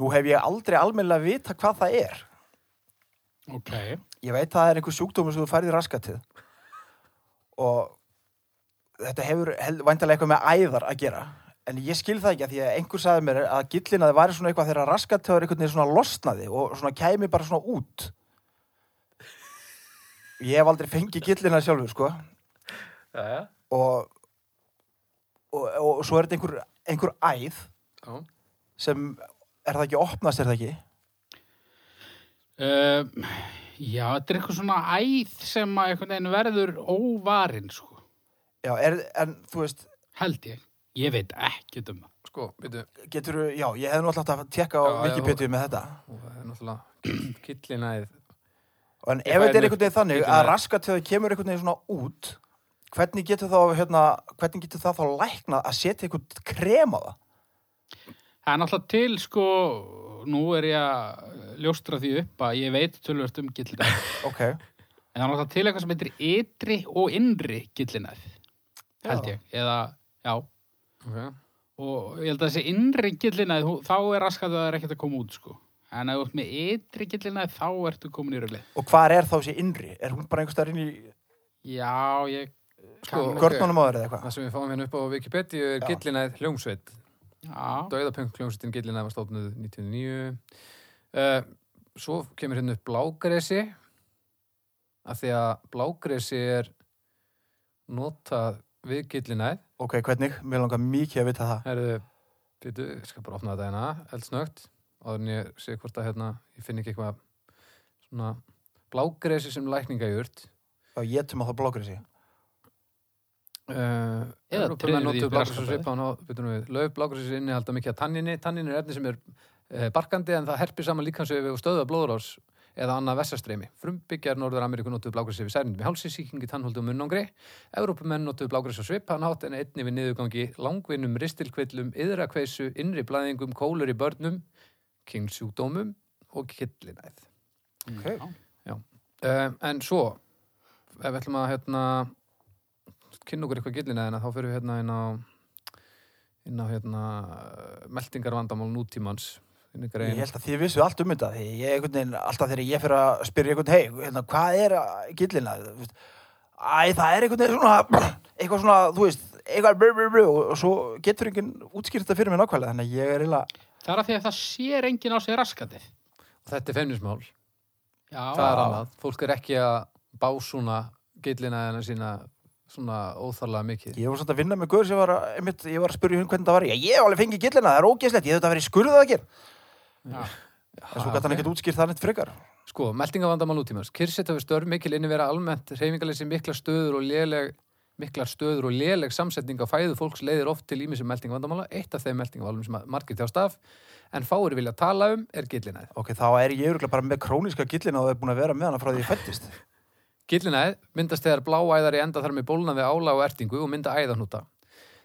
nú hef ég aldrei almennilega vita hvað það er Ok. ég veit að það er einhver sjúkdómur sem þú færði raskatið og þetta hefur held- væntanlega eitthvað með æðar að gera en ég skil það ekki að því að einhver sagði mér að gillin að það væri svona eitthvað þegar raskatið er einhvern veginn svona losnaði og svona kæmi bara svona út ég hef aldrei fengið gillina sjálfur sko Já, já. og, og, og, svo er þetta einhver, einhver æð Já. sem er það ekki að opnast er það ekki Uh, já, þetta er eitthvað svona æð sem að einhvern veginn verður óvarinn, sko. já, er, en þú veist Held ég. Ég veit ekki um það. Sko, veitu, getur, já, ég hef nú alltaf að tekka á Já, já, Wikipedia með þetta og það er náttúrulega killinæð. En Ég ef fæ mér- þetta er einhvern veginn þannig bíddu að með- raskatöðu kemur einhvern veginn svona út, hvernig getur þá, hérna, hvernig getur það þá læknað að setja einhvern krem á það? Það er náttúrulega til, sko, nú er ég að ljóstra því upp að ég veit tölvöld um gillinæð. Ok, en það er náttúrulega til eitthvað sem heitir ytri og innri gillinæð, held Já. ég. Eða, já, Ok. og ég held að þessi innri gillinæð, hún- þá er raskatið að það er ekkert að koma út, sko. En ef þú ert með ytri gillinæð, þá ertu komin í rögli. og hvað er þá þessi innri? Er hún bara einhverstaðar inn í Já, ég... Sko, kann- gott- görnunum áður eða eitthvað? Það sem við fáum hérna upp á Wikipedia er Já. gillinæð hljómsveit. Já, Dauðapunk hljómsveitin Gillinæð var stofnuð 1999 uh, Svo kemur hérna upp blágresi af því að blágresi er notað við gillinæð. Ok, hvernig? Mér langar mikið að vita það. Herðu, býtu, ég skal bara opna þetta hérna, eldsnögt, áður en ég sé hvort að hérna, ég finn ekki eitthvað svona blágresi sem lækningagjurt. Já, ég tum að það blókur þessi. Uh, Eða Evrópumenn tryður því notuðu blágresi raskataði. svipan á, býtum við, löf blágresi innihalda mikið að tanninni. Tannin er efni sem er uh, barkandi en það herpir saman líkansöfi og stöða blóðurás eða annað vessastreymi. Frumbyggjar Norður Ameríku notuðu blágresi við særnum í hálsi, sýkingi, tannhóldi og munnangri. Evrópumenn notuðu blágresi á svipanhátt en einni við niðurgangi, langvinnum, ristilkvillum, yðrakveisu, innri blæðingum, kólur í börnum, kingsjúkdómum og killinæð. Ok. Já. Um, en svo, ef við ætlum að hérna, kynna okkur eitthvað gillinæðina, þá fyrir við hérna inn á, inn á hérna, meldingarvandamál nútímans. Inn í grein. Ég held að þið vissu allt um þetta. því Ég, einhvern veginn, alltaf þegar ég fyrir að spyrja einhvern, hei, hérna, hvað er að- gillina? Þú veist, Æ, það er einhvern veginn svona, eitthvað svona, þú veist, eitthvað, brr, brr, brr, og svo getur einhvern útskýrt það fyrir mér nákvæmlega, þannig að ég er eiginlega, Það er að því að það sér enginn á sig raskatið. Og þetta er fennismál. Já, Það er annað. Fólk er ekki að básúna gillinæðina sína svona óþarlega mikið. ég var svona að vinna með guður sem var að, einmitt, ég var að spyrja hún hvernig það var, já, ég hef alveg fengið gillina, það er ógeðslegt, ég hef þetta verið skurðað að gera, Já. en svo gæti hann ekkert útskýrt það neitt frekar. Sko, meldingavandamál útímans. Kyrsettöfi störf mikil inni vera almennt reyfingalessi miklar stöður og léleg miklar stöður og léleg samsetning á fæðu fólks leiðir oft til ímisum meldingavandamála eitt af þeim meldingaválum sem að margir tjást af en fáir vilja tala um er gillinæð Ok, þá er ég örugglega bara með króníska gillina og það er búin að vera með hana frá því ég fættist. Gillinæð myndast þegar bláæðar í enda þar með bólna við ála og ertingu og mynda æðahnúta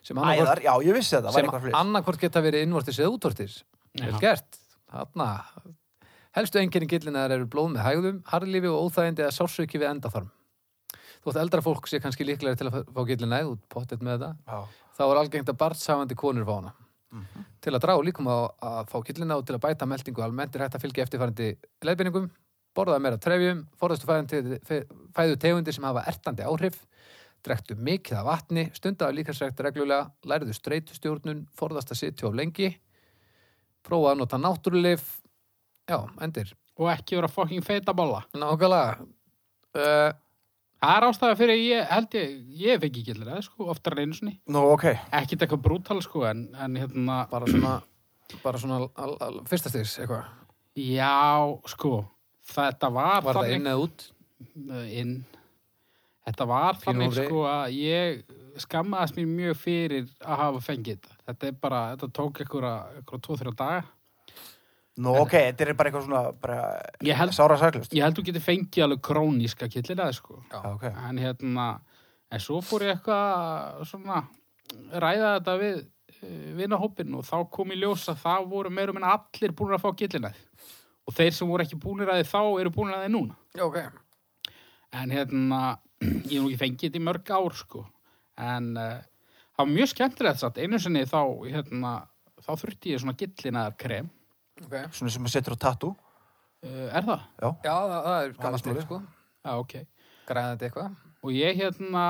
sem Æðar, já, ég vissi þetta, var eitthvað sem fleiri. annarkvort geta verið innvortis eða útvortis. Já. Vel gert. Þarna. Helstu enginni gillinar eru blóð með hægðum, harðlífi og óþægindi eða sársauki við endaþarm. Þótt eldra fólk sé kannski líklegri til að fá gillinæð út pottet með þetta, Já. þá er algengt að barnshafandi konur fá hana. Til að draga líkum á að fá gillina og til að bæta meldingu almennt er hægt að fylgja eftirfærandi leiðbeiningum, borðaða meira trefjum, forðastu fæðu tegundir sem hafa ertandi áhrif, drektu mikið af vatni, stundaðu líkansrækt reglulega, læriðu streytustjórnun, forðast að sitja of lengi, prófa að nota náttúrulif, já, endir, Og ekki vera fokking feita bolla. nákvæmlega. Uh, Það er ástæða fyrir að ég held ég, ég fekk ekki gillir það, sko, oftar einu sinni. Nú, ok. Ekkit eitthvað brútal, sko, en, en hérna, bara svona, bara svona al, al, fyrsta styrs, eitthvað. já, sko, þetta var, Var það inn eða út? inn? inn. Þetta var Pínu þannig, ófrey. sko, að ég skammaðist mér mjög fyrir að hafa fengið þetta. Þetta er bara, þetta tók einhverja, einhverja tvo-þrjá daga. Nú, ok, þetta er bara eitthvað svona bara, Ég held- sára saklust. Ég held þú getur fengið alveg króníska gillina, sko. Já. Já, ok. en hérna en svo fór ég eitthvað svona ræða þetta við eh, vinahópinn og þá kom í ljós að það voru meira meina allir búin að fá gillinæð og þeir sem voru ekki búinir að þið þá eru búinir að þið núna Ok. en hérna ég hef nú ekki fengið þetta í mörg ár sko en eh, það var mjög skemmtilegt satt einu sinni þá hérna þá þurfti ég svona gillinæðar krem Ok. Svona sem að setur á tattu. E, er það? Já, það, það er Gamalt gammalt málið. sko. Já, ok Græðandi eitthvað. og ég hérna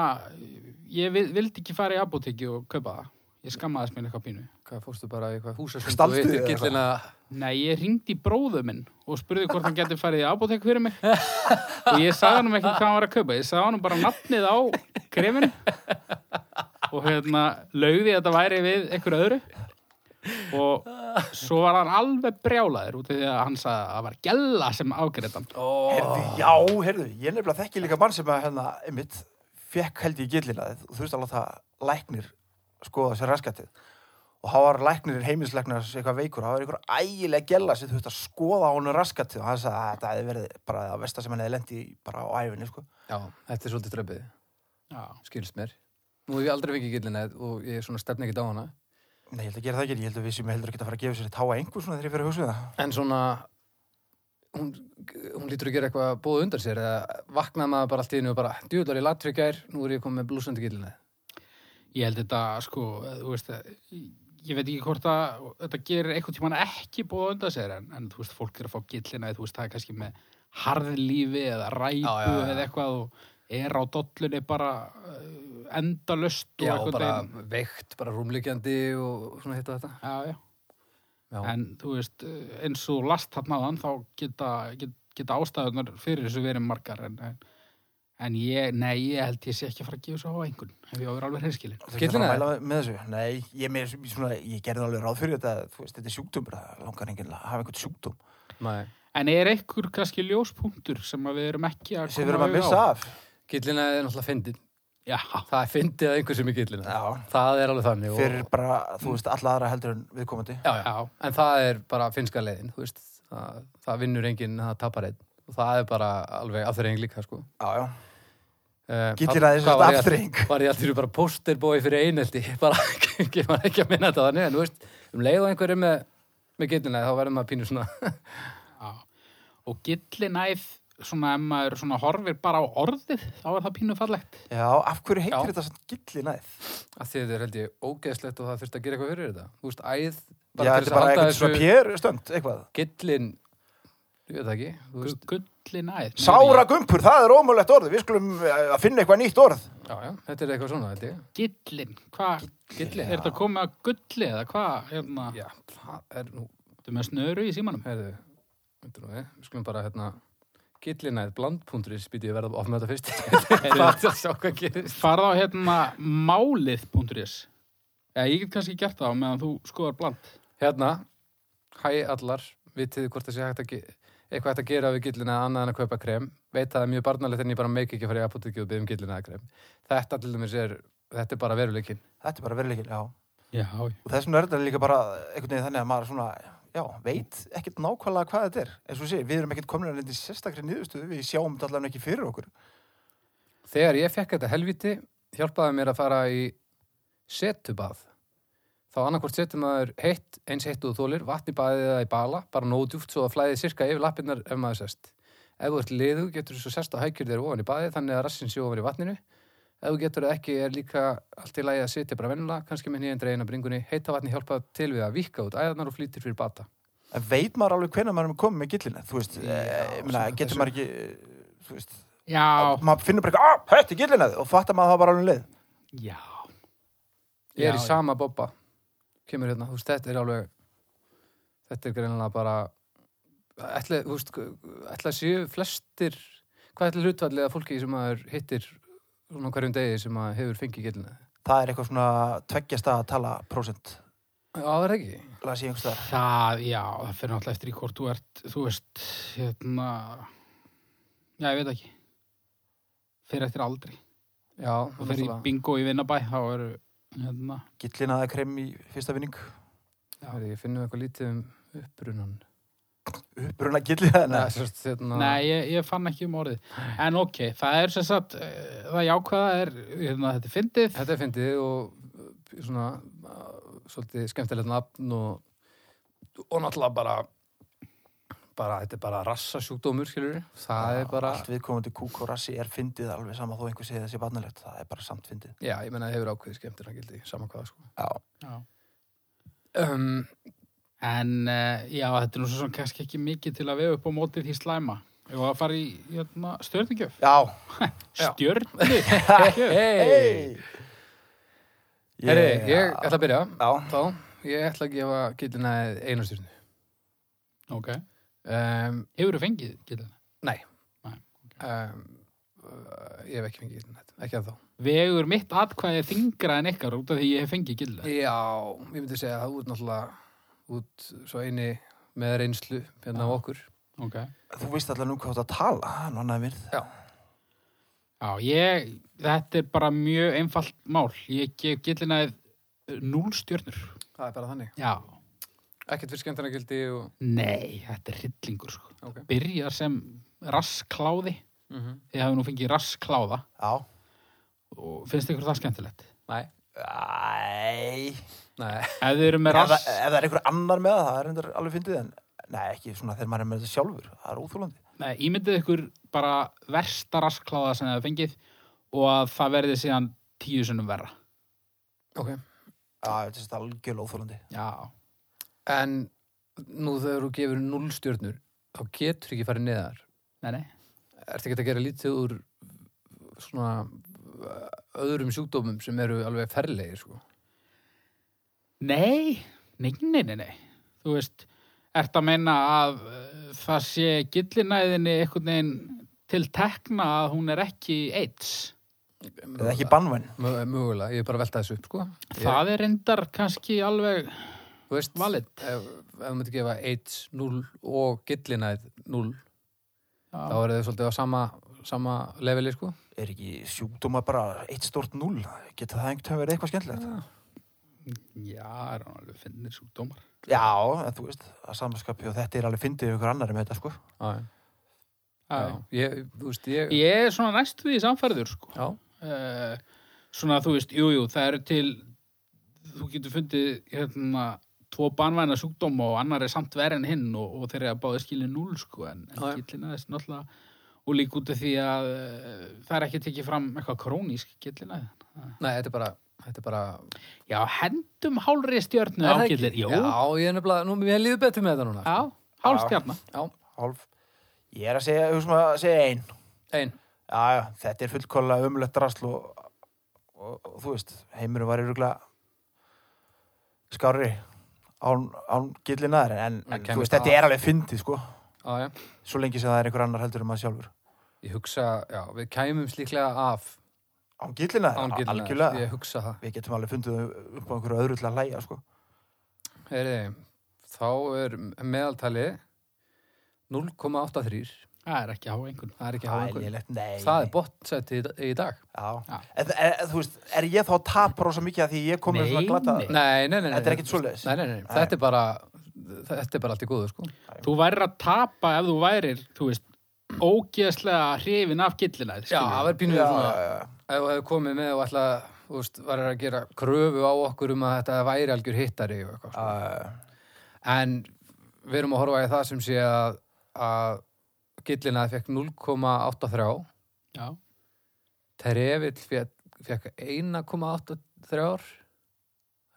ég vil- vildi ekki fara í apotekki og kaupa það ég skammaðist mér eitthvað pínu Hvað fórstu bara í eitthvað húsasund og Stalstu hittir þig eða gillina Nei, ég ringdi í bróðu minn og spurði hvort hann geti farið í apotek fyrir mig og ég sagði hann ekki hvað hann var að kaupa ég sagði hann bara nafnið á krefinu og hérna laugði að þetta væri við einhverju öðru og svo var hann alveg brjálaður út af því að hann sagði að það var gælla sem afgreitt hann Herðu, já, herðu, ég nefnilega þekki líka mann sem að hérna, einmitt, fekk held ég gillinaðið og þú veist alveg það læknir skoða sér raskatið. Og hann var læknirinn heimilisleiknar eitthvað veikur, hann var einhver ægilega gella sem þú veist að skoða honum raskatið og hann sagði að þetta hefði verið bara að versta sem hann hefði lendi bara á æfinni, sko. Já, þetta er svolítið tröpið, Já, skilst mér Nú hef ég aldrei fengið gillina og ég er svona stefn ekkert á hana Nei, ég held að gera það ekki, ég held að við sem heldur ekki að fara að gefa sér að táa einhver svona þegar ég fyrir að hugsa um það. En svona hún, hún lítur að gera eitthvað bóð undan sér eða vaknaði maður bara allt í einu og bara djúðlar ég latri í gær, nú er ég komið með blúsandi gillina ég held þetta sko þú veist að ég veit ekki hvort að þetta gerir einhvern tímann ekki búið undan sér en, en þú veist, fólk er að fá gillina þú veist, það er kannski með harðlífi eða ræpu Já, já, já. eða eitthvað og er á dollunni bara uh, endalöst og Já, og einhvern bara veginn. veikt, bara rúmlíkjandi og svona hitt og þetta já, já. Já, en þú veist, uh, eins og þú last þarnaðan þá geta, get, geta ástæðunar fyrir þessu verið margar en, en, En ég, nei, ég held ég sé ekki að fara að gefa svo á einhvern, ef ég á að vera alveg hreinskilin. Þú Getur þarf það? að mæla með þessu? Nei, ég, mér, svona, ég gerði alveg ráð fyrir þetta, þú veist, þetta er sjúkdómur, það langar enginn að hafa einhvern sjúkdóm Nei. En er einhver kannski ljóspunktur sem að við erum ekki að sem við erum að auga missa á? af. Gillina er náttúrulega fyndin. Já, Það er fyndið að einhver sem er gillina. Já, Það er alveg þannig. og- fyrir bara, þú veist, alla aðra heldur en viðkomandi. Já, já. já, En það er bara finnska leiðin, þú veist. Það, það vinnur enginn, það tapar einn. Og það er bara alveg afturreying líka, sko. Já, já. Uh, Gillir aðeins hvað var þetta ég afturreying. Var ég alltaf bara posterbói fyrir einelti. Bara, ég var ekki að minna þetta þannig, en þú veist, um leið og einhverju með, með gillina, þá verðum maður pínu svona... já. Og gillinæð, svona, ef maður svona horfir bara á orðið, þá er það pínu fallegt. Já, af hverju Já. heitir þetta samt gillinæð? að því þetta er held ég ógeðslegt og það þurft að gera eitthvað fyrir þetta þú veist, æð Já, þetta er bara eitthvað svona pér stönd, eitthvað. gillin ég veit það ekki þú veist, Gullinæð. Nei, Sára gumpur, það er ómögulegt orð, við skulum eh, að finna eitthvað nýtt orð. já, já, þetta er eitthvað svona held ég. Gillin, hvað, gillin, er þetta komið að gulli eða hvað, hérna, Ah. já, það er nú þú með snöru í símanum? heyrðu, veitir nú við, við skulum bara hérna gillinæð blandpundris býti ég verða of með þetta fyrst bara til að sjá hvað gerist Farð á hérna málið.is. Já, ég get kannski gert það á meðan þú skoðar bland. hérna, hæ allar vitið þið hvort það sé hægt að ge- eitthvað hægt að gera við gillina annað en að kaupa krem veit það er mjög barnalegt en ég bara meik ekki að fara í apotekki og byggjum gillina krem þetta til dæmis er, þetta er bara veruleikin Þetta er bara veruleikin, já. Já, já. Og þessum er þetta líka bara einhvern veginn þannig að maður svona, já, veit ekkert nákvæmlega hvað þetta er. Eins og sé, við erum ekkert komin að nefndi sérstakri niðurstöðu, við sjáum þetta allavega ekki fyrir okkur. Þegar ég fekk þetta helviti hjálpaði mér að fara í setubað. Þá annarkvort setur maður heitt, eins heitt og þú þólir, vatn í baðið eða í bala, bara nógu djúft svo að flæðið sirka yfir lappirnar ef maður sest. Ef þú ert liðu getur þú svo sest á hækjur þér ofan í baðið þannig að rassin sé ofan í vatninu. Ef þú getur það ekki er líka allt í lagi að setja bara vennulega, kannski með nýjendra eina bringunni, heita vatni hjálpa til við að vika út æðarnar og flýtir fyrir bata. En veit maður alveg hvenær maður er komin með gillina, þú veist, Já, já, mena, svona þessu. getur maður ekki, eh, þú veist, Já, maður finnur bara eitthvað, að, þetta er gillina og fattar maður það bara alveg um leið. já. Ég er í Já, já. sama bobba, kemur hérna, þú veist, þetta er alveg, þetta er greinilega bara, ætla, þú veist, ætla séu flestir, hvað ætla hlutfallið að fólki sem maður hittir svona á hverjum degi sem maður hefur fengið gillina? Það er eitthvað svona tveggjast að tala prósent, Já, það er ekki. las ég einhvers þar. Það, já, það fyrir náttúrulega eftir í hvort þú ert, þú veist, hérna, já, ég veit ekki. Fyrir eftir aldri. Já, Það fyrir í náttúrulega. bingo í vinnabæ, þá eru, hérna, Gillina eða krem í fyrsta vinning, Herri, Ég finnum eitthvað lítið um upprunan. uppruna gillina, Nei, nei, sérst, hérna, nei, ég, ég fann ekki um orðið. En ok, það er sem sagt, eh, það jákvæða er, hérna, þetta er fyndið. þetta er fyndið og uh, svona, uh, svolítið skemmtilegt nafn og, og náttúrulega bara, bara, þetta er bara rassasjúkdómur, skilur Það er bara... allt viðkomandi kúk og rassi er fyndið alveg sama þó einhver segir þessi barnalegt, það er bara samt fyndið. Já, ég menna það hefur ákveðið skemmtina gildi, saman hvað sko. Já. Já. Ehm, Um, En, eh, já, þetta er nú svo sem kannski ekki mikið til að vefa upp á mótið því slæma. Ég var að fara í, hérna, stjörnugjöf. Já. Já. Stjörnugjöf. hey. Herri, Yeah. ég ætla að byrja Já. þá, ég ætla að gefa gildina einastjörnu ok. um, Hefur þú fengið, getur Nei, Nei, um, uh, Ég hef ekki fengið gildina ekki að þá Vegur mitt atkvæði þingra en ykkar út af því ég hef fengið gilda. Já, ég myndi segja að þú ert náttúrulega út svo eini með reynslu hérna á okkur Ok. Þú veist alltaf nú hvað þú átt að tala, það er nú annað virð. Já, ég, þetta er bara mjög einfalt mál. Ég gef gildinaðið núl stjörnur. Það er bara þannig Já. Ekkert fyrir skemmtina gildi og... Nei, þetta er hryllingur, sko. Ok. Byrjar sem raskláði. mm Ég hafi nú fengið raskláða Já. og finnst ykkur það skemmtilegt. Nei, Æ. nei Ef þið eru með Ef, rask... það- ef það er einhver annar með það, það er endur alveg fyndið en nei, ekki svona þegar maður er með þetta sjálfur, það er óþúlandi. Nei, ímyndið ykkur bara versta raskláða sem þið hafi fengið og að það verði síðan tíu sunnum verra. Ok Já, þetta er satt algjörlega óþúlandi. Já. En nú þegar þú gefur 0 stjörnur þá getur ekki farið neðar Nei, nei. Ertu ekki að gera lítið úr svona uh, öðrum sjúkdómum sem eru alveg ferlegir sko? Nei, nei, nei, nei, nei. Þú veist, ert að meina að eh, það sé gillinæðinni einhvern veginn til tekna að hún er ekki AIDS. eða ekki bannvenn Mö- Mögulega, ég er bara að velta þessu upp, sko. Ég- Það er reyndar kannski alveg, Þú veist, valid. Ef, ef þú myndir gefa 1, 0 og gillinæð 0, þá já, eru þau svolítið á sama, sama leveli, sko. er ekki sjúkdóma bara eitt stort null getur það einhvern veginn verið eitthvað skemmtilegt já, er hann alveg finnir sjúkdómar. já, en þú veist, að samanskapi og þetta er alveg fyndið ykkur annar með þetta sko Já, já. Já. Ég, þú veist, ég... Ég er svona næst því samfærður, sko. Já, Eh, svona þú veist, jú, jú, það eru til þú getur fundið hérna tvo banvæna sjúkdóma og annar er samt verið en hinn og, og þeir eru að báði skilja núl sko, en, en Já, já. gillina þess náttúrulega og líka út af því að uh, það er ekki tekið fram eitthvað krónísk gillina nei, þetta er bara... Þetta er bara... já, hendum hálri stjörnu Er á það ekki? gillir, jú, Já, já, ég er nefnilega... Nú, mér líður betur með þetta núna. hálf stjörna Já. Hálf. ég er að segja, hugsa maður að segja ein Einn. já, já, þetta er fullkóla umlegt drasl og, og, og, þú veist, heimurum var yrugla skárri án, án gillinaður en, Það en þú kemur veist, það þetta að- er alveg fyndið sko Já, já. svo lengi sem það er einhver annar heldur en maður sjálfur Ég hugsa, já, við kæmum slíklega af án gillinaður, án gillinæð. algjörlega Ég hugsa það. við getum alveg fundið upp á einhverju öðru til að hlæja sko. Heyriði, þá er meðaltali 0,83. það er ekki á einhvern Það er ekki Það háa er einhvern. lélegt, nei. Það er bottsætti í dag. Já. Já. En, en, þú veist, er ég þá að tapa rosa mikið að því ég kom með Nei, svona glata nei. Nei, nei, nei. nei. Þetta er ekkit svoleiðis. Nei, nei, nei. Þetta er bara, þetta er bara allt í góðu, sko. þú værir að tapa ef þú værir, þú veist ógeðslega hrifin af gillina Já, það verður pínuð Já, svona, já, já. ef þú hefur komið með og ætla, þú veist, var að gera kröfu á okkur um að þetta væri algjör hittari og eitthvað. Já, sko. já, já. En við erum að horfa í það sem sé að, að gillina fekk 0,83, já, Trefill fekk, fekk 1,83,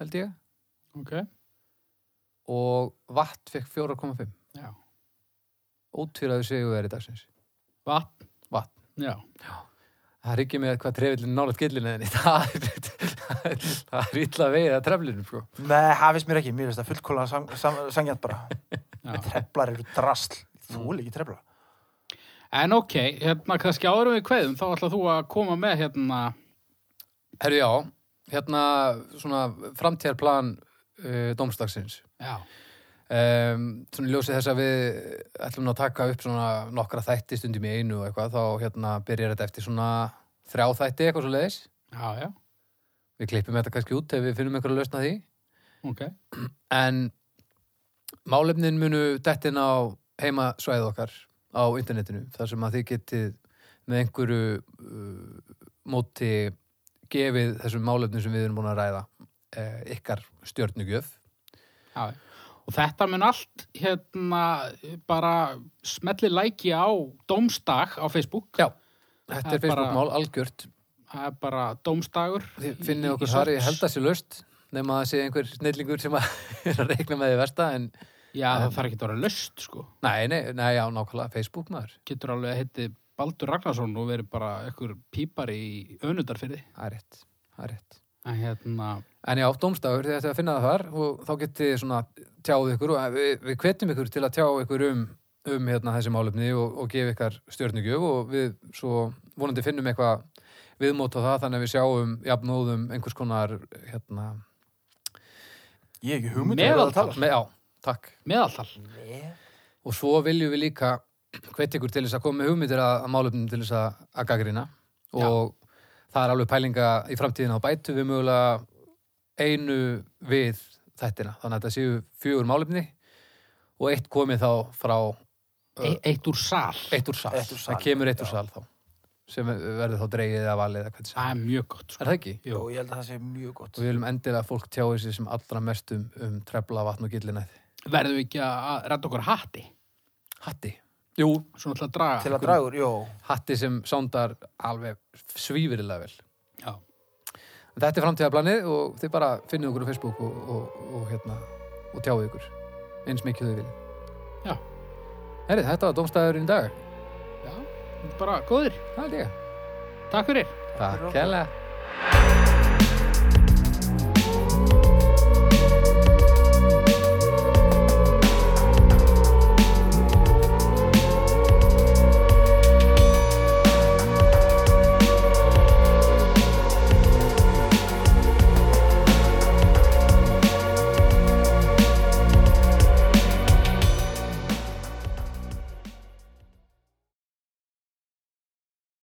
held ég, ok, og Vatt fekk 4,5. já Ótvíraðu sigurveri dagsins. vatn, Vatn. já Það er ekki með hvað trefillin nálaðt gillinni það er, það er illa veið að treflinu sko. Nei, hafist mér ekki, mér finnst það fullkóla sang, sang, sangjant bara Já. Treflar eru drasl, Mm. þú er ekki trefla En ok, hérna kannski áður en við kveðum, þá ætla þú að koma með hérna, Herru já, hérna svona framtíðarplan uh, dómstagsins. já, Um, svona í ljósi þess að við ætlum að taka upp svona nokkra þætti stundum í einu og eitthvað, þá hérna byrjar þetta eftir svona þrjá þætti eitthvað svo leiðis. já, já, Við klippum þetta kannski út ef við finnum einhverju að lausna því. ok, En málefnin munu dettin á heimasvæðið okkar á internetinu, þar sem að þið getið með einhverju uh, móti gefið þessum málefnum sem við erum búin að ræða uh, ykkar stjörnugjöf. já. já. Og þetta mun allt hérna bara smelli læki á Dómstag á Facebook. Já. Þetta Það er er bara- Facebook-mál algjört. Það er bara Dómstagur. Þið í- finnið í- okkur í þar, ég search. held að sé löst nema að það sé einhver snillingur sem að er að reikna með því versta en Já, það þarf ekki að vera löst, sko. nei, nei, nei, já, nákvæmlega Facebook maður, Getur alveg að heiti Baldur Ragnarsson og verið bara einhver pípar í önundarfyrði. það er rétt, það er rétt. En hérna, En já, dómstagur, þið ættu að finna það þar og þá getið þið svona tjáð ykkur og eh, við, við hvetjum ykkur til að tjá ykkur um, um hérna, þessi málefni og, og gefa ykkar stjörnugjöf og við svo vonandi finnum eitthvað viðmót á það þannig að við sjáum jafnóðum einhvers konar hérna, Ég hef ekki hugmynd um hvað það Meðaltal. talar. með, já, takk. meðaltal. Nei. Og svo viljum við líka hvetja ykkur til þess að koma með hugmyndir að, að málefnum til þess að, að gagrina Já. og það er alveg pælinga í framtíðin á bætu við mögulega einu við þættina. Þannig að þetta séu fjögur málefni og eitt komið þá frá E eitt úr sal. eitt úr sal. Eitt úr sal, það kemur eitt úr já. sal þá sem verður þá dreigið af valið eða hvað Það sem. er mjög gott, Er sko. það ekki? Jú, ég held að það sé mjög gott Og við viljum endilega að fólk tjáu sér sem allra mest um, um trefla vatn og gillinæð. Verðum við ekki að redda okkur hatti? Hatti. Jú. Svona til að draga. Til að draga úr, jú Hatti sem sándar alveg svífurilega vel. Já. En Þetta er framtíðarblanið og þið bara finnið okkur á Facebook og, og, og, hérna, og tjáið ykkur eins mikið þau vilja. Já. Herri, þetta var domstæðurinn í dag. Já, bara góður. Það er ég. Takk fyrir. Takk fyrir okkur. kærlega.